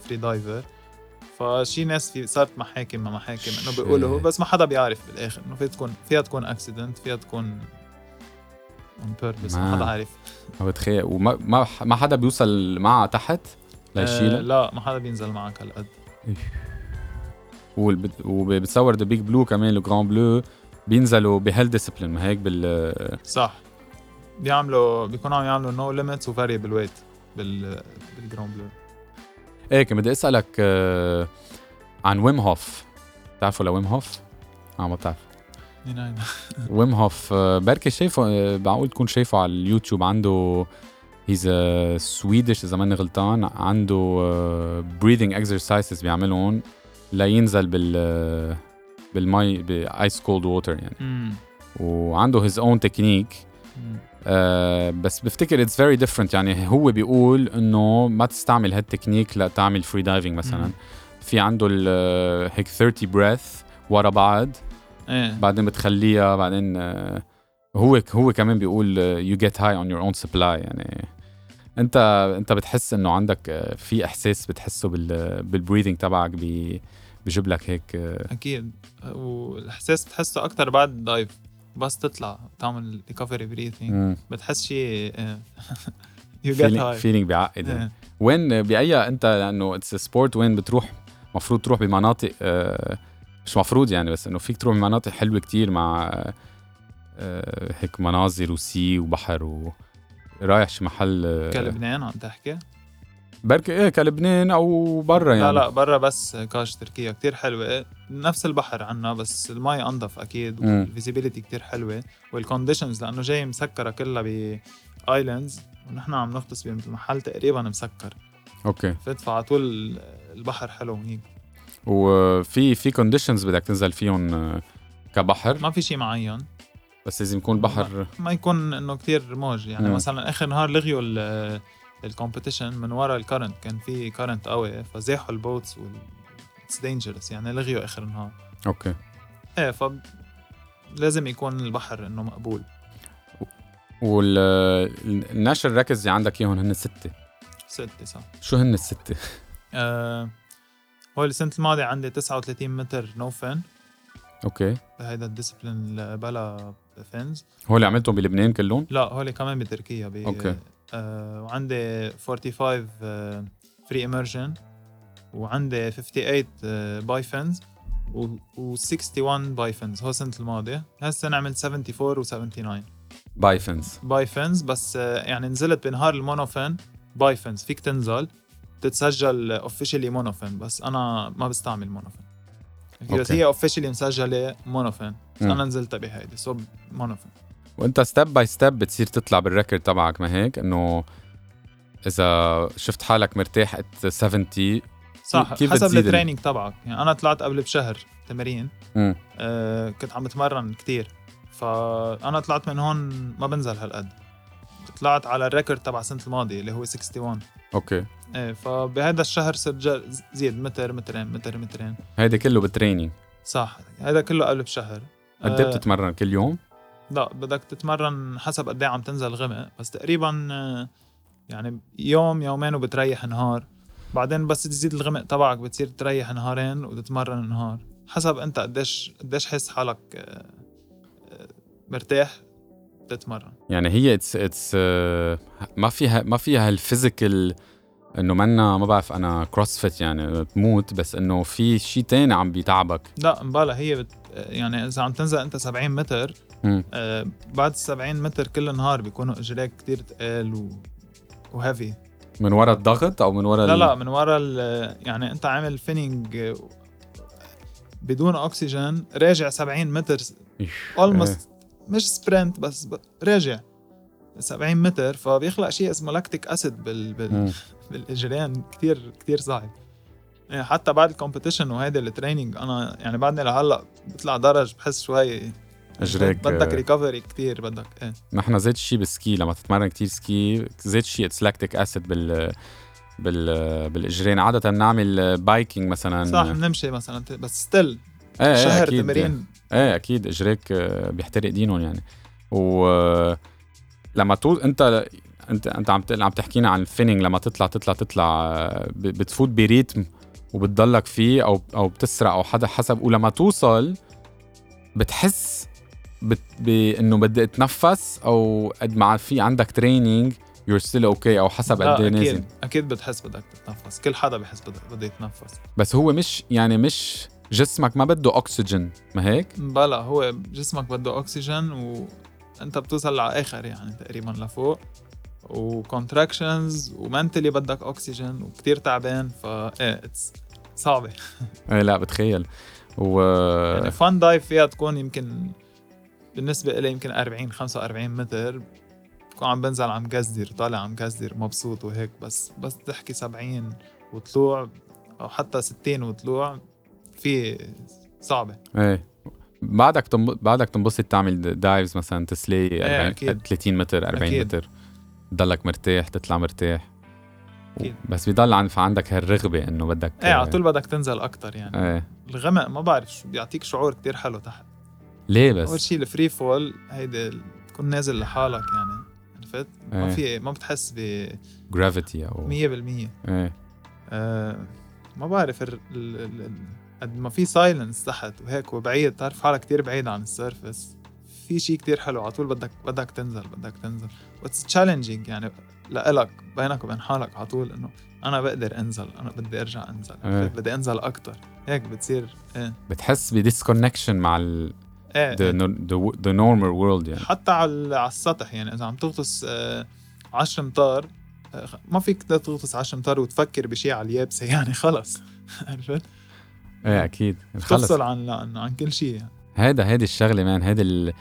فري دايفر فشي ناس في صارت محاكم ما محاكم انه بيقولوا هو
Shit.
بس ما حدا بيعرف بالاخر انه فيها تكون فيها تكون اكسيدنت فيها تكون اون بيربس ما
Man.
حدا عارف
ما بتخيل وما ما, ما حدا بيوصل معها تحت
آه
ليشيلها
لا ما حدا بينزل معك هالقد
والب- وبتصور ذا بيج بلو كمان لو جراند بلو بينزلوا بهالديسبلين ما هيك بال
صح بيعملوا بيكونوا عم يعملوا نو ليميتس وفاريبل ويت بال بالجراوند بلو
ايه كان بدي اسالك آه، عن ويم هوف بتعرفوا لويم هوف؟ اه ما بتعرف
مين هيدا؟
ويم هوف آه، بركي شايفه آه، معقول تكون شايفه على اليوتيوب عنده هيز سويدش اذا ماني غلطان عنده آه، بريذنج اكسرسايزز بيعملهم لينزل بال آه، بالمي بايس كولد ووتر يعني
مم.
وعنده هيز اون تكنيك
مم.
آه، بس بفتكر اتس فيري ديفرنت يعني هو بيقول انه ما تستعمل هالتكنيك لتعمل فري دايفنج مثلا
مم.
في عنده ال- آه، هيك 30 بريث ورا بعض
ايه
بعدين بتخليها بعدين آه، هو هو كمان بيقول آه، يو جيت هاي اون يور اون سبلاي يعني انت انت بتحس انه عندك آه، في احساس بتحسه بال بالبريذنج تبعك بي- بجيب لك هيك آه،
اكيد والاحساس بتحسه اكثر بعد الدايف بس تطلع تعمل ريكفري بريثينج
مم.
بتحس <laughs> شيء يو جيت
فيلينج
هاي
فيلينج
إيه،
بيعقد وين باي انت لانه اتس سبورت وين بتروح مفروض تروح بمناطق آه، مش مفروض يعني بس انه فيك تروح بمناطق حلوه كتير مع آه، هيك مناظر وسي وبحر و رايح شي محل آه،
كلبنان عم تحكي؟
بركي ايه كلبنان او برا يعني
لا لا برا بس كاش تركيا كتير حلوة إيه، نفس البحر عنا بس المي انضف اكيد
مم.
والفيزيبيليتي كتير حلوة والكونديشنز لانه جاي مسكرة كلها بايلاندز ونحن عم نغطس بمحل تقريبا مسكر
اوكي
فادفع على طول البحر حلو هيك
وفي في كونديشنز بدك تنزل فيهم آه، كبحر
ما في شيء معين
بس لازم يكون بحر
ما يكون انه كتير موج يعني
مم.
مم. مثلا اخر نهار لغيوا ال- الكومبetition من ورا الكرنت كان في كرنت قوي فزاحوا البوتس وال اتس دينجرس يعني لغيوا اخر نهار
اوكي
ايه ف لازم يكون البحر انه مقبول
والناشر آه، ركز اللي عندك اياهم هن سته
ستة صح
شو هن السته؟ <laughs>
آه هو السنة الماضية عندي 39 متر نو فن
اوكي
هيدا الديسبلين اللي بلا فنز
هو اللي عملتهم بلبنان كلهم؟
لا هولي كمان بتركيا ب
أوكي.
آه وعندي 45 فري اميرجن وعندي 58 باي فنز و 61 باي فنز هو السنة الماضية هالسنة عملت 74 و79
باي فنس
باي فنز بس آه، يعني نزلت بنهار المونوفن باي فنز فيك تنزل تتسجل اوفيشلي مونوفن بس انا ما بستعمل مونوفن بس
أوكي.
هي اوفيشلي مسجله مونوفن بس
مم.
انا نزلتها بهيدي سو مونوفن
وانت ستيب باي ستيب بتصير تطلع بالريكورد تبعك ما هيك انه اذا شفت حالك مرتاح ات 70
صح
كيف
حسب
بتزيد ال-
التريننج تبعك يعني انا طلعت قبل بشهر تمارين
مم.
آه كنت عم بتمرن كتير فانا طلعت من هون ما بنزل هالقد طلعت على الريكورد تبع السنه الماضيه اللي هو 61
اوكي
ايه فبهذا الشهر صرت جا- زيد متر مترين متر مترين
هيدا كله بتريننج
صح هذا كله قبل بشهر
قد ايه
آه،
بتتمرن كل يوم؟
لا بدك تتمرن حسب قد ايه عم تنزل غمق بس تقريبا آه، يعني يوم يومين وبتريح نهار بعدين بس تزيد الغمق تبعك بتصير تريح نهارين وتتمرن نهار حسب انت قديش قديش حس حالك آه، آه، مرتاح تتمرن
يعني هي اتس اتس ما فيها ما فيها الفيزيكال انه منا ما بعرف انا كروسفيت يعني تموت بس انه في شيء تاني عم بيتعبك
لا مبالا هي بت... يعني اذا عم تنزل انت 70 متر
مم.
آه، بعد ال 70 متر كل نهار بيكونوا اجريك كتير تقال و... وهيفي
من ورا الضغط او من ورا
لا
ال-
لا من ورا ال- يعني انت عامل فينينج بدون اكسجين راجع 70 متر
إيش. إيه.
اولموست مش سبرنت بس ب- راجع 70 متر فبيخلق شيء اسمه لاكتيك اسيد بال بال
مم.
بالاجرين كثير كثير صعب يعني حتى بعد الكومبيتيشن وهيدا التريننج انا يعني بعدني لهلا بطلع درج بحس شوي
أجريك،
بدك
آه.
ريكفري كثير بدك ايه
نحن زيت شيء بالسكي لما تتمرن كتير سكي زيت شيء اتس لاكتيك اسيد بال بال بالاجرين عاده نعمل بايكينج مثلا
صح بنمشي مثلا بس ستيل
ايه يعني إيه،
شهر
أكيد.
تمرين
ايه اكيد اجريك آه، بيحترق دينهم يعني و آه، لما تو انت انت انت عم تقل- عم تحكينا عن الفيننج لما تطلع تطلع تطلع آه، ب- بتفوت بريتم وبتضلك فيه او او بتسرع او حدا حسب ولما توصل بتحس بت بانه بدي اتنفس او قد ما في عندك تريننج يور ستيل اوكي او حسب
لا،
قد ايه نازل
اكيد اكيد آه، بتحس بدك تتنفس كل حدا بحس بده بده يتنفس
بس هو مش يعني مش جسمك ما بده اكسجين ما هيك؟
بلا هو جسمك بده اكسجين وانت بتوصل لاخر يعني تقريبا لفوق وكونتراكشنز ومنتلي بدك اكسجين وكتير تعبان فا ايه it's صعبه
ايه لا بتخيل و آه، إيه.
يعني فان دايف فيها تكون يمكن بالنسبه لي يمكن 40 45 متر بكون عم بنزل عم جزر طالع عم جزر مبسوط وهيك بس بس تحكي 70 وطلوع او حتى 60 وطلوع في صعبه
ايه بعدك تنب... بعدك تنبسط تعمل دايفز مثلا تسلي 40
إيه، أكيد.
30 متر 40
أكيد.
متر تضلك مرتاح تطلع مرتاح
أكيد.
بس بضل عن عندك هالرغبه انه بدك
ايه على طول بدك تنزل اكثر يعني
ايه
الغمق ما بعرف شو بيعطيك شعور كتير حلو تحت
ليه
اول
بس
شيء الفري فول هيدي ال- تكون نازل لحالك يعني عرفت
إيه.
ما في ما بتحس ب
جرافيتي او
100%
ايه
آه ما بعرف ال- ال- ال- ال- قد ما في سايلنس تحت وهيك وبعيد تعرف حالك كتير بعيد عن السيرفس في شيء كتير حلو على طول بدك بدك تنزل بدك تنزل واتس تشالنجينج يعني لإلك بينك وبين حالك على طول انه انا بقدر انزل انا بدي ارجع انزل
إيه.
بدي انزل اكثر هيك بتصير ايه
بتحس بديسكونكشن مع ال
ايه
the, no- the, the normal world يعني
حتى على على السطح يعني اذا عم تغطس 10 امتار آه، ما فيك تغطس 10 امتار وتفكر بشيء على اليابسه <laughs> يعني خلص عرفت؟
ايه اكيد خلص
تفصل عن عن, عن كل شيء يعني.
هذا هيدي الشغله مان هيدي ال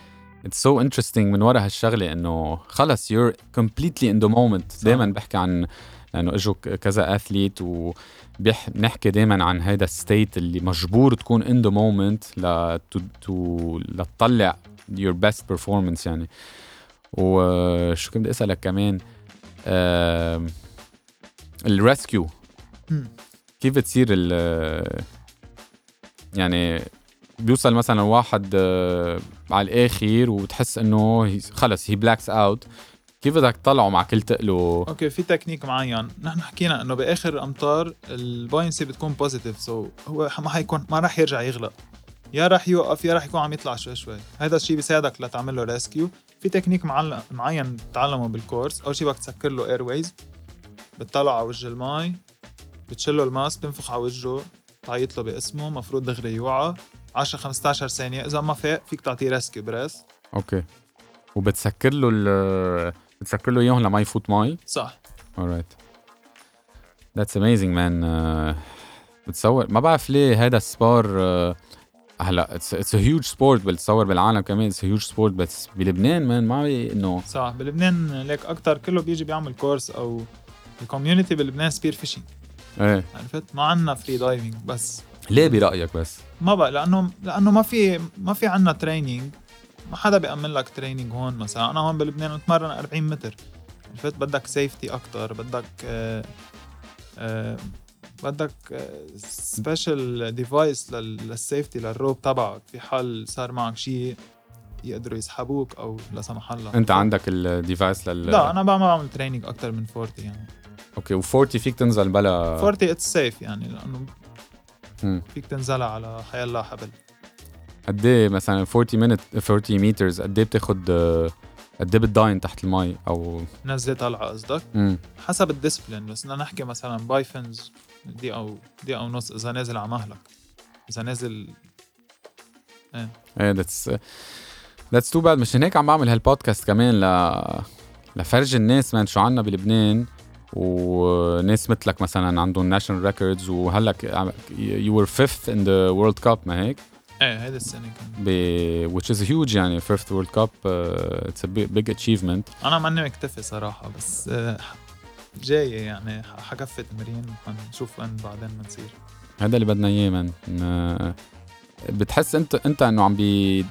اتس سو انترستينج من ورا هالشغله انه خلص يور كومبليتلي ان ذا مومنت دائما بحكي عن لانه اجوا ك- كذا اثليت وبنحكي دائما عن هيدا الستيت اللي مجبور تكون ان ذا مومنت لتطلع يور بيست بيرفورمانس يعني وشو كنت بدي اسالك كمان آم، الريسكيو
مم.
كيف بتصير ال يعني بيوصل مثلا واحد آه، على الاخر وتحس انه هي- خلص هي بلاكس اوت كيف بدك تطلعه مع كل تقله
اوكي في تكنيك معين نحن حكينا انه باخر الامتار الباينسي بتكون بوزيتيف سو هو ما حيكون ما راح يرجع يغلق يا راح يوقف يا راح يكون عم يطلع شوي شوي هذا الشيء بيساعدك لتعمل له ريسكيو في تكنيك معل- معين بتتعلمه بالكورس اول شيء بدك تسكر له اير ويز بتطلع على وجه المي بتشله الماسك بتنفخ على وجهه تعيط له باسمه مفروض دغري يوعى 10 15 ثانيه اذا ما فاق فيك تعطيه ريسكيو بريس
اوكي وبتسكر له ال آه، بتسكر له اياهم لما يفوت مي
صح
alright that's amazing man آه، بتصور ما بعرف ليه هذا السبار آه، هلا اتس اتس هيوج سبورت بتصور بالعالم كمان اتس هيوج سبورت بس بلبنان مان ما بي- انه
صح بلبنان ليك اكتر كله بيجي بيعمل كورس او الكوميونتي بلبنان سبير فيشينج
ايه
عرفت ما عندنا فري دايفنج بس
ليه برايك بس؟
ما بقى لانه لانه ما في ما في عندنا تريننج ما حدا بيأمن لك تريننج هون مثلا انا هون بلبنان بتمرن 40 متر عرفت بدك سيفتي اكثر بدك آه آه بدك آه، سبيشال ديفايس للسيفتي للروب تبعك في حال صار معك شيء يقدروا يسحبوك او لا سمح الله
انت عندك الديفايس لل
لا انا ما بعمل تريننج اكثر من 40 يعني
اوكي و40 فيك تنزل بلا
40 اتس سيف يعني لانه
مم.
فيك تنزلها على حيالله حبل
قد ايه مثلا 40 مينت 40 مترز قد ايه بتاخد آه، قد ايه بتداين تحت المي او
نزله طالعه قصدك
مم.
حسب الديسبلين بس بدنا نحكي مثلا بايفنز دقيقه او دقيقه ونص اذا نازل على مهلك اذا نازل
ايه ذاتس ذاتس تو باد مشان هيك عم بعمل هالبودكاست كمان ل لفرج الناس مان شو عنا بلبنان وناس مثلك مثلا عندهم ناشونال ريكوردز وهلا يو ور فيفث ان ذا وورلد كاب ما هيك
ايه هيدا السنه كان
ب which is huge يعني fifth world cup uh, it's a big, big achievement
انا ماني مكتفي صراحه بس آه، جاية يعني ح- حكفي تمرين حنشوف وين بعدين بنصير
هذا اللي بدنا اياه من آه، بتحس انت انت انه عم بي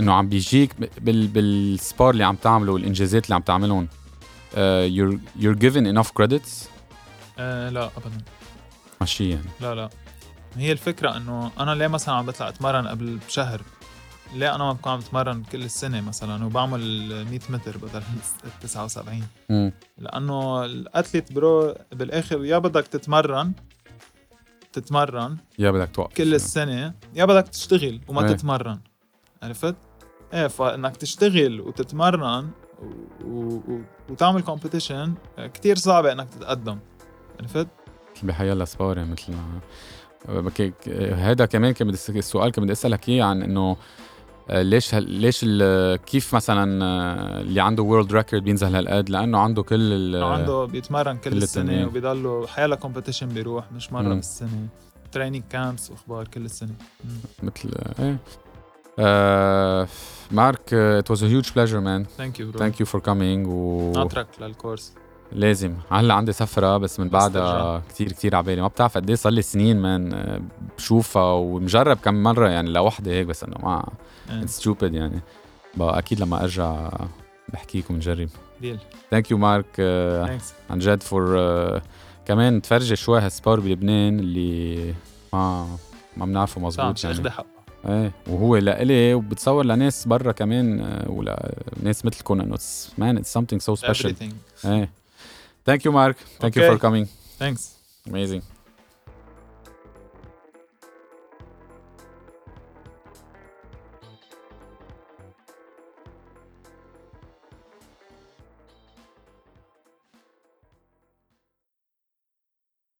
انه عم بيجيك بال بالسبار اللي عم تعمله والانجازات اللي عم تعملهم uh, you're you're given enough credits
آه لا ابدا
ماشي يعني
لا لا هي الفكرة انه انا ليه مثلا عم بطلع اتمرن قبل بشهر ليه انا ما بكون عم بتمرن كل السنة مثلا وبعمل 100 متر بدل <laughs> 79
مم.
لانه الاتليت برو بالاخر يا بدك تتمرن تتمرن
يا بدك توقف
كل السنه يا بدك تشتغل وما
إيه.
تتمرن عرفت؟ ايه فانك تشتغل وتتمرن و... و... وتعمل كومبيتيشن كتير صعبه انك تتقدم عرفت؟
بحيالله سبار يعني مثل ما آه، بك- هذا كمان كان بدي أسألك- السؤال كان بدي اسالك اياه عن انه آه، ليش هال... ليش ال... كيف مثلا آه، اللي عنده وورلد ريكورد بينزل هالقد لانه عنده كل ال...
عنده بيتمرن كل
آه، كل التمرين.
السنه وبيضلوا حيلا كومبيتيشن بيروح مش مره
مم.
بالسنه تريننج كامبس واخبار كل السنه
مثل ايه آه مارك آه، it was a huge pleasure man
ثانك يو برو
thank you for coming و
ناطرك للكورس
لازم هلا عندي سفرة بس من
بس
بعدها
ترجع.
كتير كتير عبالي ما بتعرف قد ايه صار لي سنين مان آه، بشوفها ومجرب كم مرة يعني لوحدي هيك بس انه ما
إيه.
it's stupid يعني بقى اكيد لما ارجع بحكيكم نجرب
ديل
ثانك يو مارك
ثانكس
عن جد فور كمان تفرجي شوي هالسبار بلبنان اللي ما ما بنعرفه
صح
مزبوط
مش
يعني
اخذ حقه
ايه وهو لإلي وبتصور لناس برا كمان آه، ولناس مثلكم انه it's- man it's something so special
everything
ايه thank you Mark thank you
Okay.
for coming
thanks
amazing